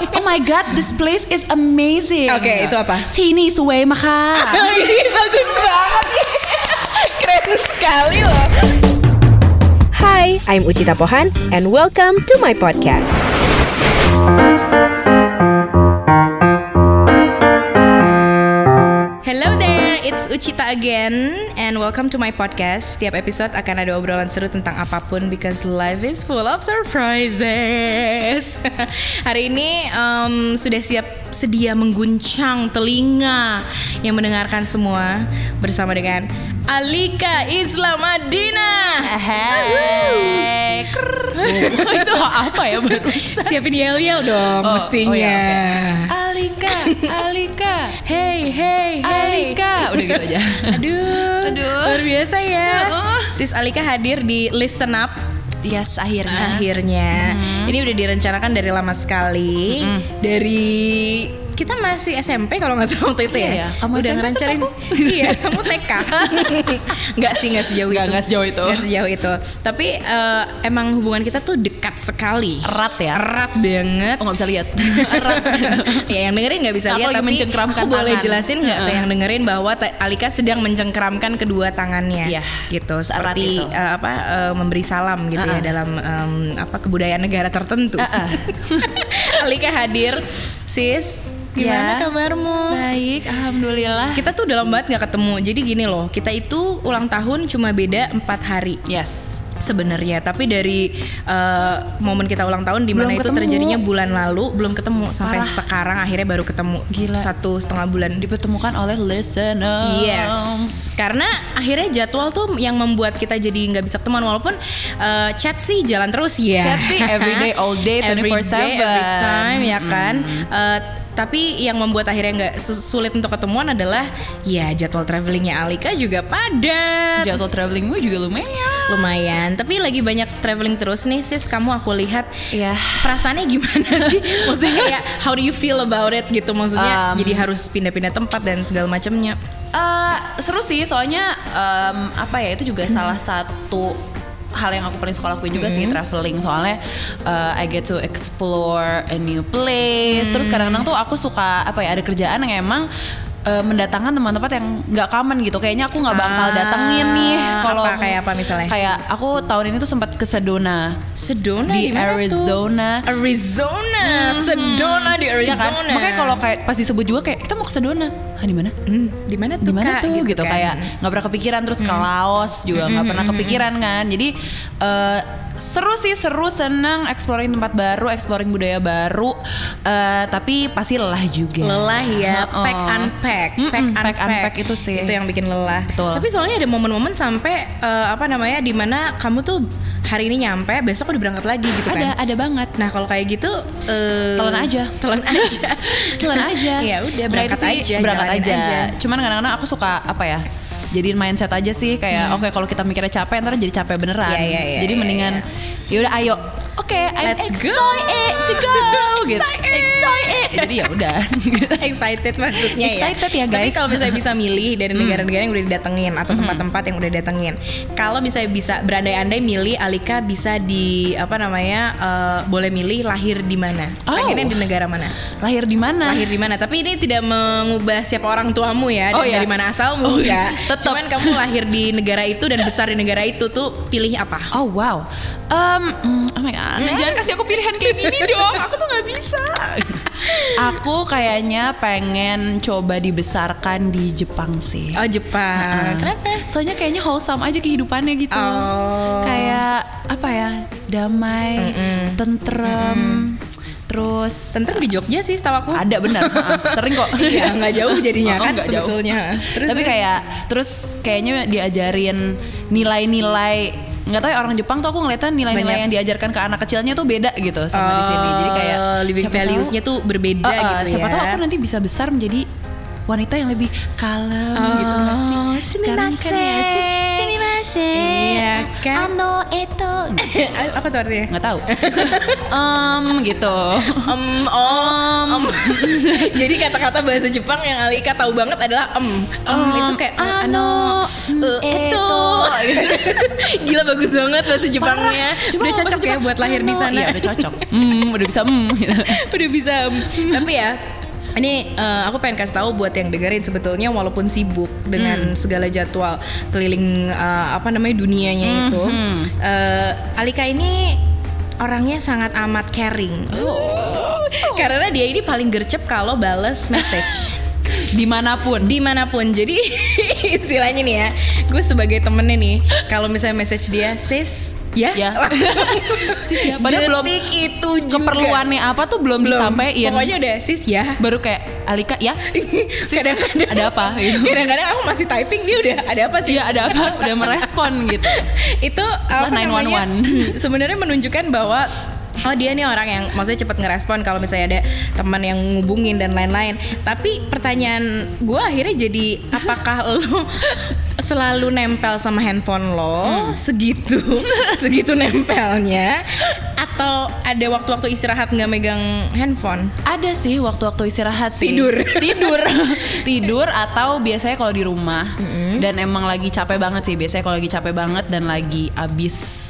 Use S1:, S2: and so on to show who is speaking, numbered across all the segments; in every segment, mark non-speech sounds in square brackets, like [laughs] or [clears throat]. S1: Oh my god, this place is amazing.
S2: Oke, itu apa?
S1: Tini Sue
S2: [laughs]
S1: Maka.
S2: Ini bagus banget. [laughs] Keren sekali loh.
S3: Hi, I'm Uchita Pohan and welcome to my podcast.
S2: Hello there, it's Uchita again and welcome to my podcast. Setiap episode akan ada obrolan seru tentang apapun because life is full of surprises. [laughs] Hari ini em, sudah siap sedia mengguncang telinga yang mendengarkan semua bersama dengan Alika Islamadina. Hey.
S1: Oh, itu apa
S2: iya,
S1: ya baru?
S2: Siapin yel-yel dong
S1: Oh,
S2: mestinya.
S1: oh ya, Alika, Alika,
S2: Hey, hey, hey.
S1: Alika. Udah gitu aja.
S2: [laughs] Aduh,
S1: Aduh.
S2: luar biasa ya.
S1: Oh.
S2: Sis Alika hadir di Listen Up
S1: Yes,
S2: Ah.
S1: akhirnya.
S2: akhirnya.
S1: Hmm.
S2: Ini udah direncanakan dari lama sekali. Dari kita masih SMP kalau nggak salah waktu itu
S1: Iya,
S2: ya.
S1: iya. Kamu
S2: udah
S1: SMP, terus
S2: ngerancarin.
S1: aku.
S2: [laughs] iya, kamu
S1: [laughs]
S2: TK. Enggak sih, nggak sejauh
S1: Nggak,
S2: itu.
S1: nggak sejauh itu.
S2: Nggak sejauh itu. Tapi eh, emang hubungan kita tuh dekat sekali.
S1: Erat ya.
S2: Erat banget.
S1: Oh nggak bisa
S2: [laughs]
S1: lihat.
S2: ya yang dengerin nggak bisa
S1: Aku
S2: lihat
S1: lagi
S2: tapi
S1: mencengkramkan
S2: aku boleh
S1: tangan.
S2: jelasin nggak ke
S1: Heeh.
S2: yang dengerin bahwa Ta- Alika sedang mencengkramkan kedua tangannya
S1: Iya.
S2: gitu
S1: Erat
S2: seperti
S1: itu.
S2: eh, apa eh, memberi salam gitu ya
S1: Heeh.
S2: dalam em, apa kebudayaan negara tertentu [laughs] Alika hadir sis gimana
S1: Ya.
S2: kabarmu
S1: [laughs] Baik, alhamdulillah.
S2: kita tuh udah lama banget nggak ketemu jadi gini loh kita itu ulang tahun cuma beda empat hari
S1: Yes.
S2: sebenarnya tapi dari eh, momen kita ulang tahun di mana
S1: Belum
S2: itu
S1: ketemu.
S2: terjadinya bulan lalu belum ketemu sampai
S1: Parah.
S2: sekarang akhirnya baru ketemu
S1: Gila. Oh.
S2: satu setengah bulan
S1: Dipertemukan oleh listener.
S2: Yes, karena akhirnya jadwal tuh yang membuat kita jadi nggak bisa ketemuan walaupun eh, chat sih jalan terus ya.
S1: Chat sih every day, all day,
S2: [laughs]
S1: Hmm.
S2: Every day,
S1: 24/7.
S2: every time ya kan. Eh, tapi yang membuat akhirnya nggak su- sulit untuk ketemuan adalah ya jadwal travelingnya Alika juga padat
S1: Jadwal travelingmu juga lumayan.
S2: lumayan tapi lagi banyak traveling terus nih sis kamu aku lihat
S1: Iya.
S2: perasaannya gimana [laughs] sih maksudnya kayak how do you feel about it gitu maksudnya
S1: Um,
S2: jadi harus pindah-pindah tempat dan segala macamnya
S1: Eh, seru sih soalnya em, apa ya itu juga salah satu hal yang aku paling suka lakuin juga
S2: Mm-hmm.
S1: sih traveling soalnya eh, I get to explore a new place
S2: Mm-hmm.
S1: terus kadang-kadang tuh aku suka apa ya ada kerjaan yang emang eh, mendatangkan teman-teman yang nggak common gitu kayaknya aku nggak bakal
S2: Ah,
S1: datengin nih kalau
S2: apa, kayak apa misalnya?
S1: kayak aku tahun ini tuh sempat ke Sedona
S2: Sedona
S1: di
S2: Nah, mana
S1: Arizona Mhm.
S2: tuh? Arizona Sedona di
S1: Iya
S2: Arizona
S1: kan? makanya kalau kayak pas disebut juga kayak kita mau ke Sedona Hah, di mana
S2: Hmm, di mana tuh Hmm.
S1: di mana
S2: Kak?
S1: tuh gitu,
S2: kan.
S1: kayak nggak pernah kepikiran terus ke Laos juga nggak pernah
S2: hmm,
S1: kepikiran kan jadi eh, seru sih seru senang exploring tempat baru exploring budaya baru Eh, tapi pasti lelah juga
S2: lelah ya
S1: Heeh.
S2: pack unpack
S1: Mm-mm,
S2: pack
S1: pack,
S2: unpack
S1: unpack itu sih.
S2: itu yang bikin lelah
S1: Betul.
S2: tapi soalnya ada momen-momen sampai eh, apa namanya di mana kamu tuh hari ini nyampe besok udah berangkat lagi gitu
S1: ada
S2: kan
S1: ada banget
S2: Nah kalau kayak gitu eh,
S1: Telan aja.
S2: Telan
S1: [laughs]
S2: aja [laughs]
S1: jalan aja
S2: Ya udah
S1: Nah,
S2: berangkat
S1: itu sih,
S2: aja
S1: berangkat
S2: jalanin
S1: aja. cuman kadang-kadang aku suka apa ya jadiin mindset aja sih kayak oke kalau kita mikirnya capek ntar jadi capek beneran
S2: Hmm. Iya, iya, iya,
S1: jadi
S2: iya,
S1: mendingan yaudah ayo eh, oke I'm
S2: Let's go.
S1: excited to
S2: [laughs]
S1: go gitu
S2: Excited.
S1: excited jadi ya udah [laughs]
S2: Excited maksudnya ya
S1: Excited ya,
S2: Tapi
S1: guys. Hmm.
S2: kalau misalnya bisa milih dari negara-negara yang udah didatengin Atau tempat-tempat yang udah datengin Kalau misalnya bisa berandai-andai milih Alika bisa di apa namanya eh, Boleh milih lahir di mana
S1: Oh.
S2: Pengennya di negara mana
S1: lahir di mana
S2: lahir di mana tapi ini tidak mengubah siapa orang tuamu ya dan
S1: Oh, iya.
S2: dari mana asalmu enggak.
S1: tetep.
S2: cuman kamu lahir di negara itu dan besar di negara itu tuh pilih apa Hmm?
S1: Oh wow, um, mm, oh my god,
S2: Nah.
S1: jangan kasih aku pilihan kayak gini dong, aku tuh nggak bisa. aku kayaknya pengen coba dibesarkan di Jepang sih.
S2: Oh Jepang. Kenapa?
S1: Soalnya kayaknya wholesome aja kehidupannya gitu.
S2: Oh.
S1: Kayak apa ya? Damai, tentrem, terus
S2: Tentrem di Jogja sih setahu aku.
S1: ada [laughs] benar, heeh, sering kok.
S2: [laughs] Iya, nggak jauh jadinya
S1: Oh,
S2: kan
S1: nggak jauh.
S2: sebetulnya. Terus-
S1: Tapi kayak terus kayaknya diajarin nilai-nilai nggak tahu ya orang Jepang tuh aku ngeliatnya nilai-nilai
S2: Banyak.
S1: yang diajarkan ke anak kecilnya tuh beda gitu sama di sini. Jadi kayak
S2: Eh, living
S1: siapa tahu-
S2: values-nya tuh berbeda
S1: Eh, eh,
S2: gitu
S1: Siapa
S2: ya.
S1: tahu aku nanti bisa besar menjadi wanita yang lebih kalem gitu nggak sih?
S2: Oh,
S1: Sekarang kan ya,
S2: sumimasen.
S1: su- sumimasen.
S2: Iya kan?
S1: Ano eto.
S2: [laughs] apa tuh artinya?
S1: Nggak Eh, tahu. [laughs] um gitu.
S2: Em, om, [laughs] Jadi kata-kata bahasa Jepang yang Alika tahu banget adalah em. Em itu kayak
S1: ano,
S2: ano, eh, itu.
S1: [laughs]
S2: Gila bagus banget bahasa Jepangnya.
S1: Cuma
S2: udah
S1: bahasa
S2: cocok ya
S1: Jepang,
S2: buat lahir di
S1: ano.
S2: sana.
S1: Iya, udah cocok. Hmm, udah bisa hmm gitu. [laughs]
S2: udah bisa em. tapi ya ini eh, aku pengen kasih tahu buat yang dengerin sebetulnya walaupun sibuk
S1: Hmm.
S2: dengan segala jadwal keliling eh, apa namanya dunianya
S1: Hmm,
S2: itu eh, Alika ini orangnya sangat amat caring
S1: Oh.
S2: karena dia ini paling gercep kalau bales
S1: [laughs]
S2: message
S1: Dimanapun.
S2: dimanapun jadi [laughs] istilahnya nih ya gue sebagai temennya nih kalau misalnya message dia sis ya,
S1: Ya. [laughs] Sis ya, padahal belum
S2: Detik itu juga.
S1: keperluannya apa tuh belum,
S2: belum
S1: disampaikan.
S2: pokoknya udah sis ya
S1: baru kayak Alika ya Sis,
S2: [laughs] kadang-kadang
S1: ada apa gitu.
S2: Ya, kadang-kadang aku masih typing dia udah [laughs] ada [laughs] apa sih
S1: Iya ada apa? Udah merespon gitu.
S2: itu apa namanya,
S1: 911.
S2: [laughs] sebenarnya menunjukkan bahwa Oh dia nih orang yang maksudnya cepat ngerespon kalau misalnya ada teman yang ngubungin dan lain-lain. Tapi pertanyaan gue akhirnya jadi apakah [laughs] lo selalu nempel sama handphone lo
S1: Hmm. [laughs]
S2: segitu segitu nempelnya atau ada waktu-waktu istirahat nggak megang handphone?
S1: Ada sih waktu-waktu istirahat sih.
S2: Tidur.
S1: [laughs]
S2: [laughs]
S1: Tidur. Tidur atau biasanya kalau di rumah. Dan emang lagi capek banget sih. Biasanya kalau lagi capek banget dan lagi abis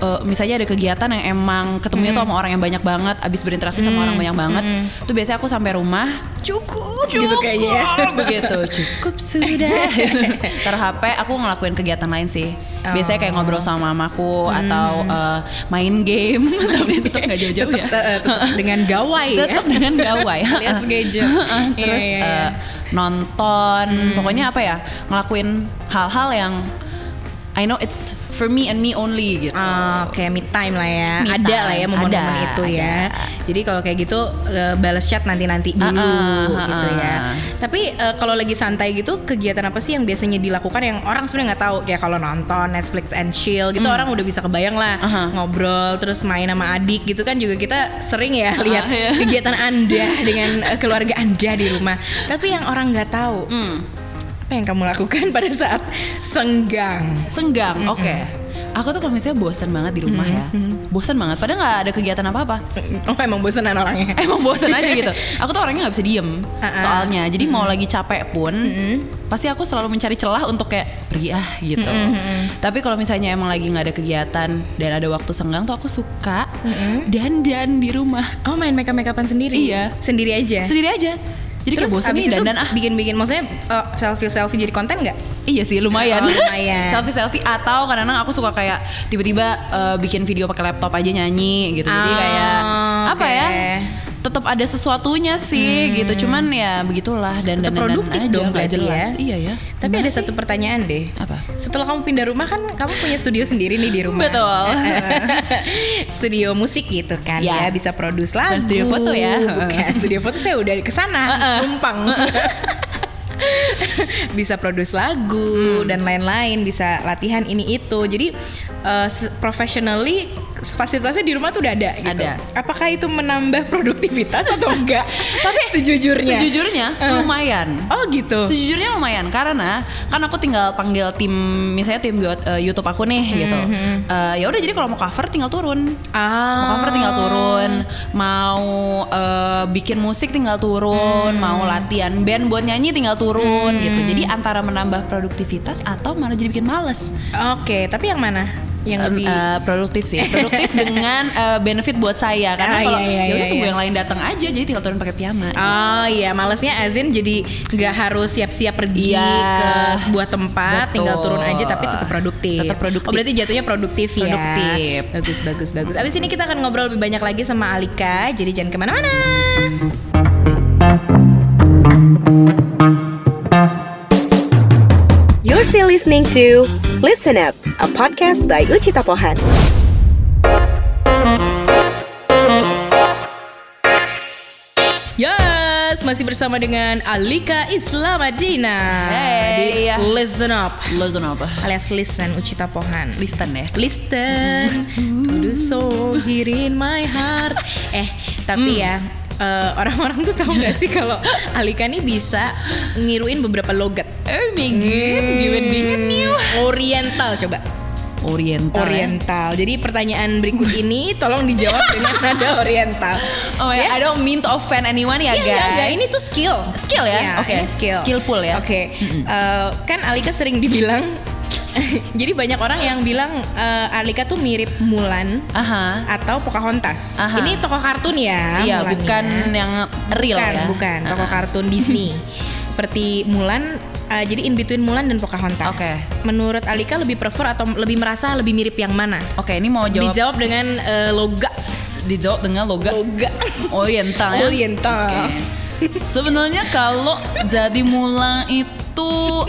S1: eh, misalnya ada kegiatan yang emang ketemunya tuh sama orang yang banyak banget, abis berinteraksi sama orang banyak banget, tuh biasanya aku sampai rumah
S2: Cukup, gitu kayaknya.
S1: [laughs] begitu cukup sudah.
S2: [laughs]
S1: Ter HP aku ngelakuin kegiatan lain sih. Biasanya kayak
S2: Oh.
S1: ngobrol sama mamaku atau eh, main game, [laughs] tapi tetap nggak jauh-jauh
S2: Tetep,
S1: ya.
S2: eh,
S1: [laughs]
S2: tetep dengan gawai ya.
S1: tetap dengan
S2: [laughs]
S1: gawai
S2: Alias
S1: [laughs]
S2: gadget. Iya,
S1: terus
S2: iya, iya.
S1: eh,
S2: Hmm.
S1: nonton pokoknya apa ya ngelakuin hal-hal yang I know it's for me and me only gitu
S2: Oh, kayak me time lah ya.
S1: Me
S2: ada
S1: time,
S2: lah ya momen-momen
S1: ada,
S2: itu ya. Jadi kalau kayak gitu eh, balas chat nanti-nanti dulu
S1: Ah, ah,
S2: gitu
S1: ah,
S2: ya.
S1: ah.
S2: Tapi eh, kalau lagi santai gitu kegiatan apa sih yang biasanya dilakukan yang orang sebenarnya nggak tahu kayak kalau nonton Netflix and chill gitu orang udah bisa kebayang lah
S1: Hmm. Aha.
S2: ngobrol terus main sama adik gitu kan juga kita sering ya lihat
S1: iya.
S2: kegiatan Anda dengan eh, keluarga Anda di rumah. Tapi yang orang nggak tahu
S1: Hmm.
S2: apa yang kamu lakukan pada saat senggang.
S1: senggang oke aku tuh kalau misalnya bosan banget di rumah ya bosan banget padahal nggak ada kegiatan apa apa
S2: Oh emang bosenan orangnya.
S1: [laughs] emang bosan aja gitu aku tuh orangnya nggak bisa diem
S2: Ah-ah.
S1: soalnya jadi mau lagi capek pun pasti aku selalu mencari celah untuk kayak pergi ah gitu tapi kalau misalnya emang lagi nggak ada kegiatan dan ada waktu senggang tuh aku suka dandan di rumah
S2: Oh main makeup makeupan sendiri?
S1: Iya.
S2: Sendiri aja.
S1: sendiri aja jadi kayak bosan
S2: Eh. abis
S1: nih
S2: itu
S1: dandan ah
S2: bikin-bikin maksudnya selfie selfie jadi konten nggak?
S1: Iya sih lumayan. [laughs]
S2: Oh, lumayan.
S1: selfie selfie atau kadang-kadang aku suka kayak tiba-tiba eh, bikin video pakai laptop aja nyanyi gitu. Jadi
S2: Ah,
S1: kayak apa
S2: oke.
S1: ya? Tetap ada sesuatunya sih gitu. Cuman ya begitulah dan dan
S2: Tetap produktif
S1: aja
S2: dong
S1: nggak
S2: berarti
S1: jelas.
S2: ya.
S1: Iya ya.
S2: Tapi ada satu pertanyaan deh.
S1: Apa?
S2: Setelah kamu pindah rumah kan kamu punya studio sendiri nih di rumah.
S1: Betul.
S2: [laughs] studio musik gitu kan
S1: Ya.
S2: ya, bisa produce lagu.
S1: Bukan studio foto ya.
S2: [laughs] Bukan studio foto saya udah ke
S1: [laughs]
S2: sana, numpang. [laughs] bisa produce lagu
S1: Hmm.
S2: dan lain-lain, bisa latihan ini itu. Jadi eh, se- professionally fasilitasnya di rumah tuh udah ada gitu.
S1: Ada.
S2: Apakah itu menambah produktivitas atau enggak?
S1: [laughs]
S2: Tapi sejujurnya. [laughs]
S1: Sejujurnya [laughs] lumayan.
S2: Iya. Oh gitu.
S1: Sejujurnya lumayan karena kan aku tinggal panggil tim misalnya tim buat, eh, YouTube aku nih gitu.
S2: Hmm,
S1: Eh, ya udah jadi kalau mau cover tinggal turun. Mau
S2: Ah.
S1: cover tinggal turun, mau eh, bikin musik tinggal turun,
S2: Hmm.
S1: mau latihan band buat nyanyi tinggal turun gitu. Jadi antara menambah produktivitas atau malah jadi bikin males.
S2: Oke, tapi yang mana? Yang
S1: Em,
S2: lebih
S1: eh, produktif sih, [laughs] produktif dengan eh, benefit buat saya karena
S2: Ah,
S1: kalau
S2: iya, iya,
S1: ya udah
S2: iya,
S1: tunggu
S2: iya.
S1: yang lain datang aja jadi tinggal turun pakai piyama.
S2: Oh iya, malesnya Azin jadi nggak harus siap-siap pergi
S1: Iya.
S2: ke sebuah
S1: Betul.
S2: tempat, tinggal turun aja tapi tetap produktif.
S1: Tetap produktif.
S2: Oh, berarti jatuhnya produktif, ya.
S1: Produktif.
S2: Bagus, bagus, bagus. Abis ini kita akan ngobrol lebih banyak lagi sama Alika, jadi jangan kemana-mana.
S3: You're still listening to Listen Up, a podcast by Uchita Pohan.
S2: Yes, masih bersama dengan Alika Islamadina.
S1: Hey,
S2: Di
S1: iya.
S2: Listen up,
S1: Listen apa?
S2: alias listen Ucita Pohan.
S1: Listen ya.
S2: Listen to the song here in my heart. Eh, tapi ya eh, orang-orang tuh tahu gak sih kalau Alika nih bisa ngiruin beberapa logat. Eh,
S1: Oh my god, you and me.
S2: Oriental coba.
S1: Oriental. ya.
S2: Oriental. Jadi pertanyaan berikut ini tolong dijawab dengan nada Oriental.
S1: Oh ya, I don't mean to offend anyone ya
S2: Iya,
S1: guys.
S2: enggak, enggak. Ini tuh skill.
S1: Skill ya?
S2: Iya,
S1: Oke.
S2: ini skill.
S1: Skillful ya?
S2: Oke. Eh, kan Alika sering dibilang [laughs] Jadi banyak orang yang bilang eh, Alika tuh mirip Mulan
S1: Aha.
S2: atau Pocahontas.
S1: Aha.
S2: Ini tokoh kartun ya,
S1: Iya,
S2: Mulan
S1: bukan
S2: ya.
S1: yang real
S2: bukan,
S1: ya.
S2: Bukan, tokoh kartun
S1: [laughs]
S2: Disney. Seperti Mulan eh, jadi in between Mulan dan Pocahontas.
S1: Oke.
S2: Menurut Alika lebih prefer atau lebih merasa lebih mirip yang mana?
S1: Oke, ini mau jawab
S2: Dijawab dengan eh, loga.
S1: dijawab dengan logat
S2: Loga.
S1: Oriental
S2: Oh
S1: ya.
S2: [laughs] iya. Oriental.
S1: Sebenarnya kalau jadi mulang itu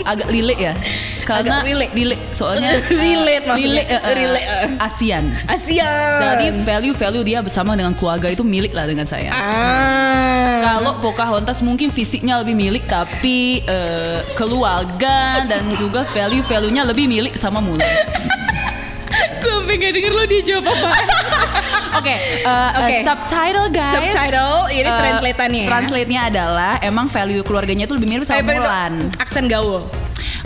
S1: agak lilik ya. Karena
S2: Agak relate.
S1: lilik soalnya eh,
S2: [laughs] Relate maksudnya.
S1: lilik, eh, eh,
S2: Relate, eh.
S1: ASEAN.
S2: Asia.
S1: Jadi value-value dia bersama dengan keluarga itu milik lah dengan saya.
S2: ah.
S1: Kalau Pocahontas mungkin fisiknya lebih milik tapi eh, keluarga dan juga value-value-nya lebih milik sama Mulan.
S2: [laughs] Gue pengen denger lo dia jawab [laughs] apa.
S1: Oke, eh, eh,
S2: Oke.
S1: subtitle guys.
S2: Subtitle,
S1: Eh,
S2: ini translatannya ya?
S1: Translate-nya adalah emang value keluarganya itu lebih mirip sama
S2: Eh, pengen tuh,
S1: Mulan.
S2: Aksen gaul.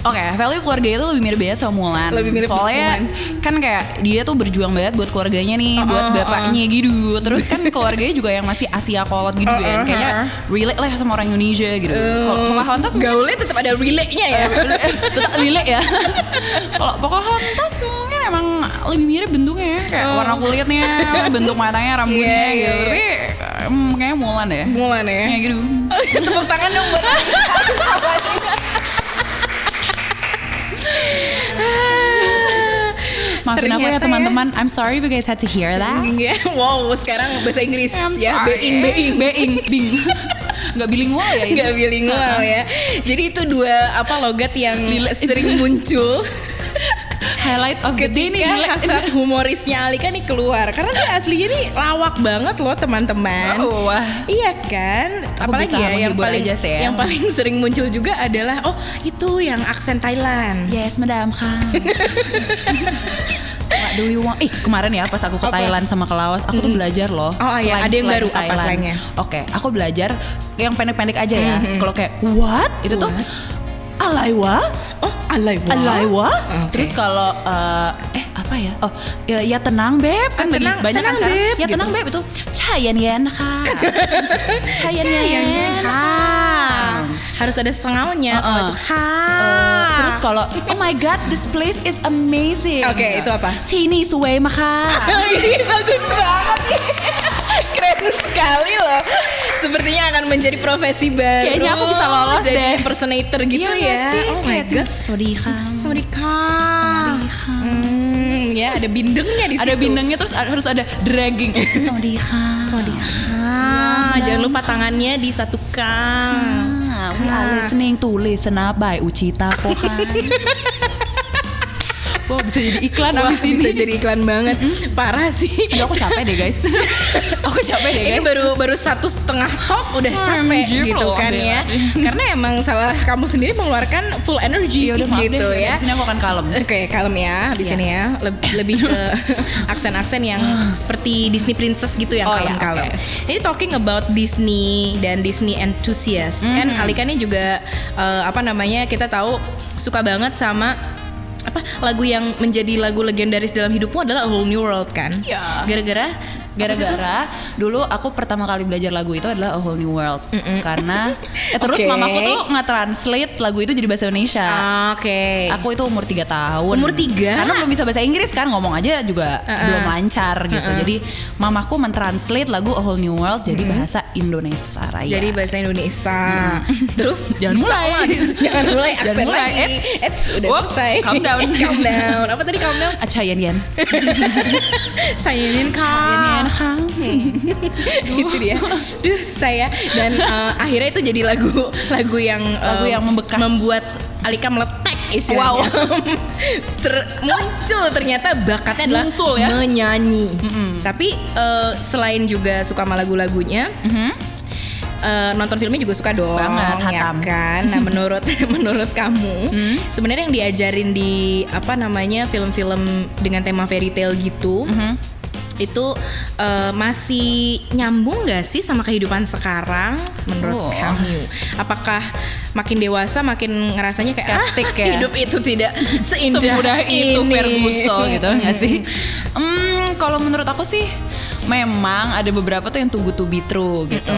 S1: Oke, value keluarga itu lebih mirip banget sama Mulan.
S2: Lebih mirip
S1: Soalnya
S2: Mulan. Uh-uh,
S1: kan kayak dia tuh berjuang banget buat keluarganya nih, buat bapaknya gitu. Terus
S2: [laughs]
S1: kan keluarganya juga yang masih Asia kolot gitu
S2: Uh-uh, Uh.
S1: kan. Kayaknya
S2: uh-uh.
S1: relate lah sama orang Indonesia gitu. Kalau Pocahontas
S2: [laughs]
S1: mungkin
S2: gaulnya tetap ada relay-nya ya.
S1: tetap lilik ya. [laughs] Kalau Pocahontas mungkin emang lebih mirip bentuknya kayak
S2: Oh.
S1: warna kulitnya, bentuk matanya, rambutnya
S2: Iya, iya,
S1: gitu.
S2: iya.
S1: Tapi em, kayaknya Mulan deh.
S2: Mulan ya.
S1: Kayak gitu.
S2: [laughs] Tepuk tangan dong buat [laughs]
S1: Maafin aku ya
S2: Ternyata ya.
S1: teman-teman. I'm sorry you guys had to hear that.
S2: Wow, sekarang bahasa Inggris ya,
S1: sorry.
S2: being being
S1: being bing [laughs] nggak bilingual ya itu
S2: nggak bilingual ya. Jadi itu dua apa logat yang sering muncul [laughs]
S1: highlight of the day nih
S2: ketika
S1: gila.
S2: Kan hasrat humorisnya Alika nih keluar karena dia aslinya nih lawak banget loh teman-teman.
S1: Oh, wah.
S2: Iya kan?
S1: Aku
S2: Apalagi
S1: bisa
S2: ya yang
S1: menghibur
S2: paling
S1: aja sih ya.
S2: yang paling sering muncul juga adalah oh itu yang aksen Thailand.
S1: yes madam [laughs] Khan What do you want? Ih kemarin ya pas aku ke
S2: Apa?
S1: Thailand sama ke Laos Aku tuh belajar loh
S2: Oh, iya. Ada yang
S1: slang
S2: baru apa
S1: Thailand.
S2: slangnya?
S1: Oke aku belajar yang pendek-pendek aja ya Kalau kayak what? Itu tuh Alaiwa
S2: Oh, alay wah.
S1: Alaiwa
S2: Oke.
S1: Terus kalau eh, Eh apa ya? Oh ya, ya tenang beb kan
S2: Ah,
S1: lagi
S2: tenang-
S1: banyak kan
S2: tenang,
S1: sekarang.
S2: Beb,
S1: Ya
S2: gitu.
S1: tenang beb itu Chayan yen kha
S2: [laughs] Iya,
S1: Chayan yen kha
S2: Harus ada sengaunya kalau
S1: Uh-uh.
S2: itu ha.
S1: Terus kalau Oh my god this place is amazing
S2: Oke, itu apa?
S1: Tini suwe maha
S2: ini bagus banget nih. Keren sekali loh. Sepertinya akan menjadi profesi baru.
S1: Kayaknya aku bisa lolos
S2: jadi
S1: deh. Iya
S2: impersonator gitu ya. Oh my god.
S1: Sorry kha
S2: Sorry Kak. Hmm, ya ada bindengnya di situ.
S1: Ada bintangnya terus ada- harus ada
S2: [laughs]
S1: dragging Sorry kha
S2: Sorry
S1: Iya,
S2: Kak. Jangan lupa tangannya disatukan.
S1: We are listening to listener by Uchita Pohan
S2: [laughs]
S1: Wah bisa jadi iklan
S2: Wah,
S1: abis ini
S2: bisa jadi iklan banget. Parah sih.
S1: Aduh, aku capek deh guys [laughs] Aku capek deh
S2: Ini
S1: guys
S2: baru baru satu setengah top udah capek
S1: Anjir,
S2: gitu
S1: loh,
S2: kan ya.
S1: [laughs]
S2: Karena emang salah kamu sendiri mengeluarkan full energy
S1: Yaudah, Iya, maaf
S2: gitu
S1: deh,
S2: ya.
S1: abis ini aku akan kalem
S2: Oke, kalem ya habis
S1: Iya.
S2: ini ya. Leb- Lebih ke [laughs] aksen-aksen
S1: [gasps]
S2: yang seperti Disney Princess gitu yang
S1: Oh, ya,
S2: kalem-kalem. Ini talking about Disney dan Disney enthusiast. Kan
S1: Mm-hmm.
S2: Alika nih juga eh, apa namanya? Kita tahu suka banget sama apa lagu yang menjadi lagu legendaris dalam hidupmu adalah A Whole New World kan?
S1: Iya.
S2: Gara-gara
S1: Gara-gara dulu aku pertama kali belajar lagu itu adalah A Whole New World
S2: [laughs]
S1: karena eh, terus
S2: Oke. Ah,
S1: mamaku tuh nge-translate lagu itu jadi bahasa Indonesia.
S2: Oke.
S1: Aku itu umur 3 tahun.
S2: Umur tiga? Ah,
S1: Karena belum bisa bahasa Inggris kan, ngomong aja juga belum lancar gitu. Jadi mamaku mentranslate lagu A Whole New World jadi bahasa Indonesia Raya.
S2: Jadi bahasa Indonesia. Terus
S1: Iya. [laughs] Jangan
S2: bisa
S1: mulai.
S2: lah di situ. jangan mulai.
S1: Jangan
S2: Jangan
S1: mulai.
S2: mulai. Eits, udah
S1: Whoops,
S2: selesai.
S1: calm down.
S2: [laughs] calm down. Apa tadi calm down?
S1: Acayan yan.
S2: Sayangin
S1: Acayan
S2: kak.
S1: [laughs]
S2: Itu dia. Duh, saya dan eh, akhirnya itu jadi lagu lagu yang eh,
S1: Lagu yang membekas.
S2: membuat Alika meletek istilahnya. [laughs] Ter- muncul ternyata bakatnya adalah
S1: Muncul ya.
S2: menyanyi. Tapi eh, selain juga suka sama lagu-lagunya, eh, nonton filmnya juga suka dong,
S1: Banget, hatam. Hmm?
S2: ya kan? Nah, menurut [laughs] menurut kamu, sebenarnya yang
S1: Hmm.
S2: diajarin di apa namanya film-film dengan tema fairy tale gitu, itu eh, masih nyambung gak sih sama kehidupan sekarang
S1: Oh.
S2: menurut kamu? Apakah makin dewasa makin ngerasanya kayak "Ah,
S1: Skeptik ya?"
S2: hidup itu
S1: [laughs]
S2: tidak seindah
S1: semudah itu
S2: ini.
S1: Ferguson
S2: [laughs]
S1: gitu nggak sih? Hmm, kalau menurut aku sih memang ada beberapa tuh yang tunggu to be true gitu.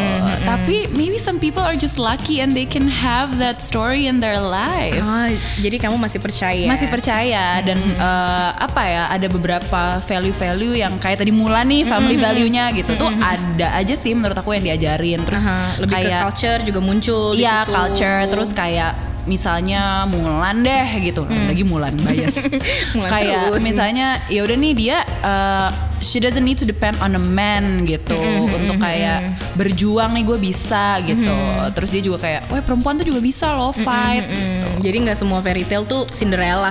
S1: Tapi maybe some people are just lucky and they can have that story in their life.
S2: Ah, jadi kamu masih percaya?
S1: Masih percaya dan eh, apa ya ada beberapa value-value yang kayak tadi mula nih family value-nya gitu tuh ada aja sih menurut aku yang diajarin terus
S2: Aha, lebih
S1: kayak
S2: ke culture juga muncul di
S1: Iya
S2: situ.
S1: culture terus kayak misalnya Mulan deh gitu lagi Mulan bias
S2: Hmm. [laughs] Mulan
S1: kayak
S2: terus nih.
S1: misalnya ya udah nih dia uh, she doesn't need to depend on a man gitu
S2: Hmm,
S1: untuk kayak berjuang nih gue bisa gitu terus dia juga kayak wah perempuan tuh juga bisa loh fight
S2: Hmm, jadi nggak semua fairy tale tuh Cinderella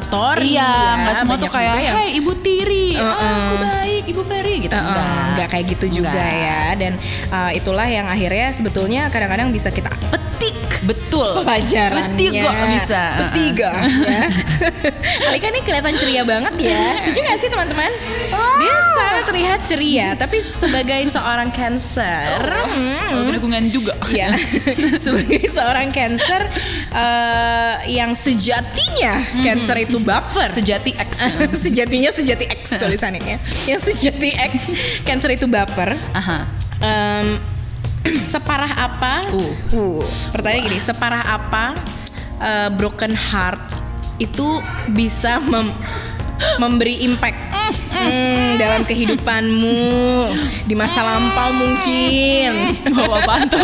S1: gitu.
S2: story.
S1: Iya,
S2: ya.
S1: nggak semua tuh
S2: Banyak
S1: kayak,
S2: juga yang-
S1: "Hey, ibu tiri,
S2: Uh-uh.
S1: ah, aku baik, ibu peri," gitu.
S2: Heeh, nggak kayak gitu juga
S1: Nggak.
S2: ya. Dan uh, itulah yang akhirnya sebetulnya kadang-kadang bisa kita petik
S1: Betul.
S2: pelajarannya.
S1: Betigo bisa.
S2: Betiga. [laughs] Alika nih kelihatan ceria banget ya. Setuju gak sih teman-teman? Dia sangat terlihat ceria, tapi sebagai seorang
S1: [laughs]
S2: cancer.
S1: Oh,
S2: hmm,
S1: Dukungan juga. [laughs]
S2: Ya, sebagai seorang cancer eh, yang sejatinya
S1: Mm-hmm.
S2: cancer itu baper.
S1: Sejati X.
S2: [laughs] sejatinya sejati X [laughs] tulisannya ya. Yang sejati X cancer itu baper.
S1: Aha.
S2: Em, [clears throat] separah apa?
S1: Uh.
S2: Uh, Pertanyaan gini, separah apa eh, broken heart itu bisa mem- memberi impact Hmm, dalam kehidupanmu di masa lampau mungkin. [laughs]
S1: Bawa apaan tuh?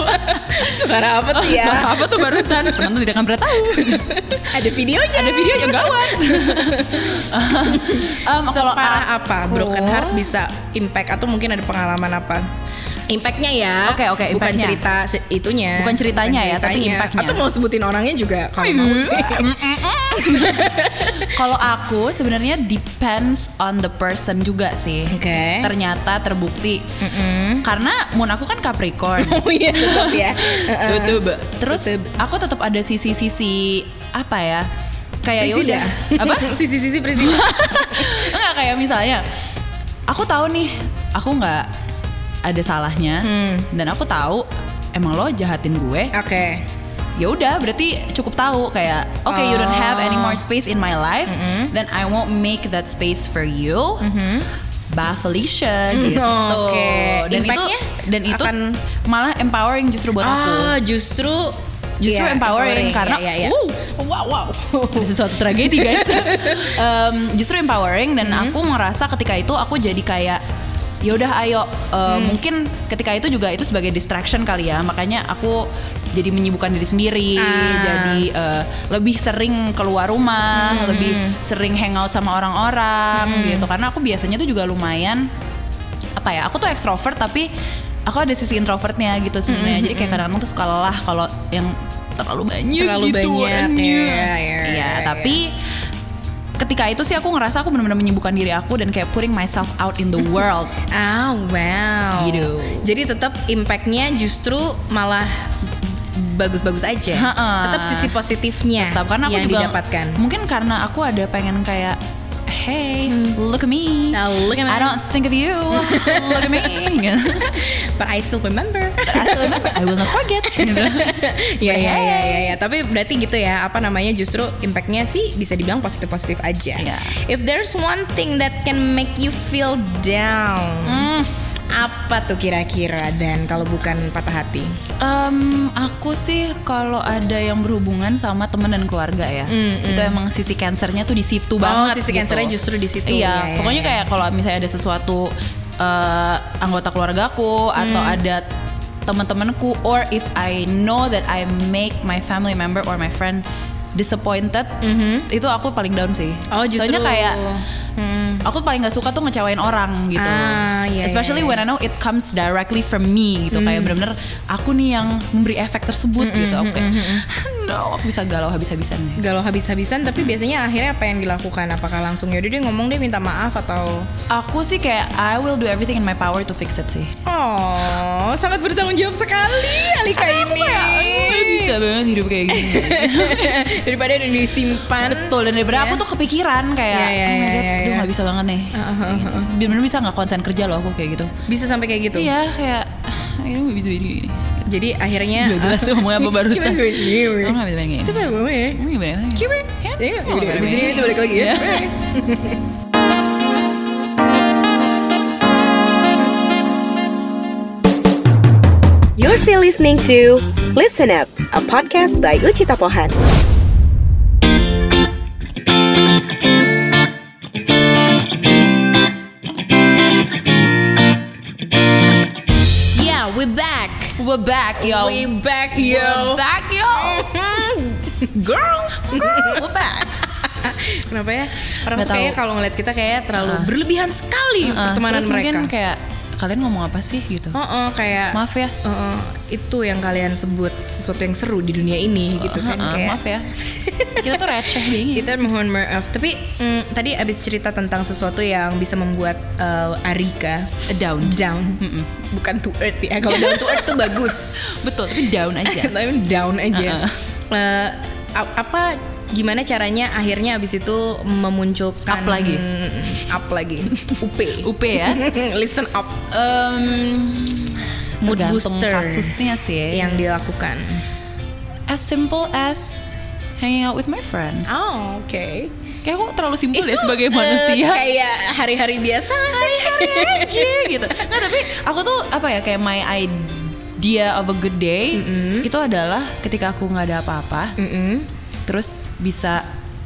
S2: Suara apa tuh ya?
S1: Suara apa tuh [laughs] barusan? Penonton tidak akan pernah tahu.
S2: Ada videonya. Ada videonya [laughs] gawat.
S1: Um, kalau
S2: Separah
S1: aku-
S2: apa broken heart bisa impact atau mungkin ada pengalaman apa? Impactnya ya.
S1: Oke, oke,
S2: Bukan
S1: impactnya.
S2: cerita se- itunya.
S1: Bukan ceritanya ya, tapi impactnya.
S2: Atau mau sebutin orangnya juga kalau mau sih.
S1: Kalau aku sebenarnya depends on the person juga sih.
S2: Oke.
S1: Eh? Ternyata terbukti. Hmm? Karena moon aku kan [laughs] Capricorn.
S2: Oh iya tetap
S1: [laughs]
S2: ya.
S1: eh.
S2: Heeh.
S1: Tutup. Terus aku tetap ada sisi-sisi apa ya? Kayak
S2: Priscilla.
S1: yaudah. [laughs] Apa?
S2: Sisi-sisi Priscilla.
S1: Enggak kayak misalnya aku tahu nih aku nggak ada salahnya dan aku tahu emang lo jahatin gue
S2: [laughs] Oke.
S1: ya udah berarti cukup tahu kayak oke you don't have any
S2: Oh.
S1: more space in my life then I won't make that space for you Bah Felicia gitu.
S2: Mm-hmm. oke.
S1: Dan
S2: Impact-nya
S1: itu dan itu
S2: akan-
S1: malah empowering justru buat aku.
S2: Ah, justru
S1: Justru
S2: Iya,
S1: empowering, karena
S2: Iya, iya, iya.
S1: uh, wow wow [laughs] Ada sesuatu tragedi guys. Em, justru empowering dan aku merasa ketika itu aku jadi kayak yaudah ayo eh, mungkin ketika itu juga itu sebagai distraction kali ya makanya aku jadi menyibukkan diri sendiri
S2: Ah.
S1: jadi eh, lebih sering keluar rumah lebih sering hangout sama orang-orang gitu karena aku biasanya tuh juga lumayan apa ya aku tuh extrovert tapi aku ada sisi introvertnya gitu
S2: Mm-hmm,
S1: sebenarnya jadi kayak kadang-kadang tuh suka lelah kalau yang terlalu banyak
S2: Terlalu
S1: gitu
S2: banyak,
S1: orangnya.
S2: iya, iya,
S1: Iya,
S2: iya.
S1: tapi ketika itu sih aku ngerasa aku benar-benar menyibukkan diri aku dan kayak putting myself out
S2: [laughs]
S1: in the world
S2: Ah, wow.
S1: Gitu.
S2: Jadi tetap impactnya justru malah bagus-bagus aja.
S1: Ha-ha.
S2: Tetap sisi positifnya
S1: Tetap, karena aku
S2: yang
S1: juga
S2: didapatkan.
S1: mungkin karena aku ada pengen kayak hey look at me
S2: Hmm. Now look at me.
S1: I don't think of
S2: [laughs]
S1: you look at me gitu.
S2: But I still remember.
S1: I still remember, I will not forget [laughs]
S2: [laughs]
S1: gitu.
S2: Iya iya
S1: Hey.
S2: iya iya [laughs] ya. tapi berarti gitu ya apa namanya justru impactnya sih bisa dibilang positif positif aja.
S1: Iya.
S2: If there's one thing that can make you feel down,
S1: Hmm.
S2: apa tuh kira-kira dan kalau bukan patah hati?
S1: Em, aku sih kalau ada yang berhubungan sama teman dan keluarga ya, itu emang sisi cancernya tuh di situ banget.
S2: Mm, Oh, sisi
S1: gitu.
S2: cancernya justru di situ.
S1: Iya,
S2: Iya, iya,
S1: pokoknya
S2: iya.
S1: kayak kalau misalnya ada sesuatu eh, anggota keluargaku atau
S2: Mm.
S1: ada teman-temanku, or if I know that I make my family member or my friend disappointed, itu aku paling down sih.
S2: Mm-hmm. Oh, justru.
S1: Soalnya kayak
S2: hmm.
S1: Hmm. aku paling nggak suka tuh ngecewain orang gitu.
S2: Ah, iya,
S1: Especially
S2: iya, iya.
S1: when I know it comes directly from me gitu. Kayak bener-bener aku nih yang memberi efek tersebut gitu. Aku kayak, [laughs] no, aku bisa galau habis-habisan. ya."
S2: Galau habis-habisan tapi biasanya akhirnya apa yang dilakukan? Apakah langsung yaudah dia ngomong dia minta maaf atau
S1: Aku sih kayak I will do everything in my power to fix it sih.
S2: oh Wow, sangat bertanggung jawab sekali Alika ini.
S1: ya? bisa banget hidup kayak gini
S2: daripada udah disimpan.
S1: [laughs] betul dan daripada aku tuh kepikiran kayak
S2: Iya, iya,
S1: oh my
S2: iya,
S1: god
S2: iya,
S1: aduh
S2: iya.
S1: nggak bisa banget nih uh, gitu. bener-bener bisa nggak konsen kerja loh aku kayak gitu
S2: Bisa sampai kayak gitu.
S1: iya kayak "Ah, ini nggak bisa ini ini
S2: Jadi akhirnya ah,
S1: Nggak jelas tuh [laughs] ngomongnya apa barusan.
S2: Gimana gue sih?
S1: aku nggak bisa main kayak gini
S2: Siapa yang ya? ngomongnya?
S1: Ini gimana
S2: Kiri.
S1: Iya,
S2: Iya, udah, Di sini itu balik lagi ya.
S3: You're still listening to Listen Up, a podcast by Uchita Pohan.
S2: Yeah, we back.
S1: we're back yo
S2: We back yo.
S1: We're back [laughs] yo
S2: Girl.
S1: we're back
S2: [laughs] Kenapa ya? Orang
S1: Nggak
S2: tuh kayaknya
S1: tahu.
S2: kalau ngeliat kita kayak terlalu
S1: Uh-uh.
S2: berlebihan
S1: Eh,
S2: sekali pertemanan
S1: terus
S2: mereka.
S1: mungkin kayak kalian ngomong apa sih gitu
S2: Oh, oh, kayak
S1: maaf ya
S2: Oh, oh, itu yang kalian sebut sesuatu yang seru di dunia ini gitu kan
S1: Ah, ah,
S2: kayak [laughs]
S1: maaf ya kita tuh receh bingung
S2: kita mohon maaf tapi mm, tadi abis cerita tentang sesuatu yang bisa membuat eh, Arika
S1: down
S2: down bukan to earth ya kalau down to earth tuh bagus
S1: [laughs] betul tapi down aja
S2: [laughs] tapi down aja
S1: Uh-uh.
S2: Eh, a- apa gimana caranya akhirnya abis itu memunculkan
S1: Up lagi.
S2: [laughs] up lagi
S1: [laughs]
S2: up
S1: UP ya
S2: [laughs] listen up
S1: Em,
S2: Um, Mood
S1: tergantung
S2: booster. Iya.
S1: kasusnya sih
S2: yang dilakukan
S1: as simple as hanging out with my friends
S2: oh oke
S1: kayak aku terlalu simpel ya sebagai manusia [laughs]
S2: eh, kayak hari-hari biasa nggak sih [laughs]
S1: aja gitu nggak tapi aku tuh apa ya kayak my idea of a good day itu adalah ketika aku nggak ada apa-apa terus bisa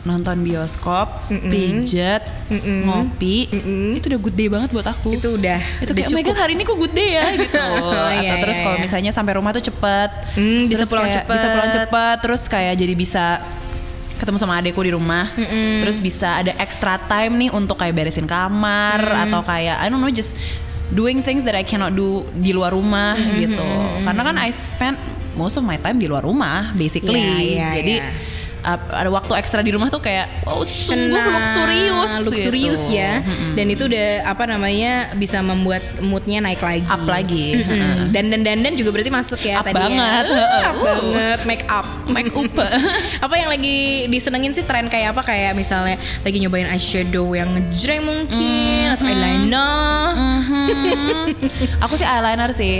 S1: nonton bioskop pijet ngopi itu udah good day banget buat aku
S2: itu udah
S1: itu
S2: udah
S1: kayak oh my God, hari ini kok good [laughs] day ya gitu
S2: Oh, iya,
S1: atau terus
S2: iya,
S1: kalau
S2: iya.
S1: misalnya sampai rumah tuh cepet
S2: Hmm, bisa
S1: Terus
S2: pulang
S1: kayak-
S2: cepet.
S1: bisa pulang cepet terus kayak jadi bisa ketemu sama adekku di rumah terus bisa ada extra time nih untuk kayak beresin kamar atau kayak I don't know just doing things that I cannot do di luar rumah gitu karena kan I spend most of my time di luar rumah basically
S2: Iya, iya,
S1: jadi
S2: iya.
S1: ap- ada waktu ekstra di rumah tuh kayak wow sungguh
S2: Senang,
S1: luxurious
S2: luxurious
S1: gitu.
S2: ya dan itu udah apa namanya bisa membuat moodnya naik lagi
S1: up lagi
S2: Mm-mm. dan dan dan dan juga berarti masuk ya
S1: Up
S2: tadi ya.
S1: banget.
S2: Uh, up
S1: Uh.
S2: banget make up
S1: make up
S2: [laughs] apa yang lagi disenengin sih tren kayak apa kayak misalnya lagi nyobain eyeshadow yang ngejreng
S1: Mm-hmm.
S2: mungkin atau eyeliner
S1: aku sih eyeliner sih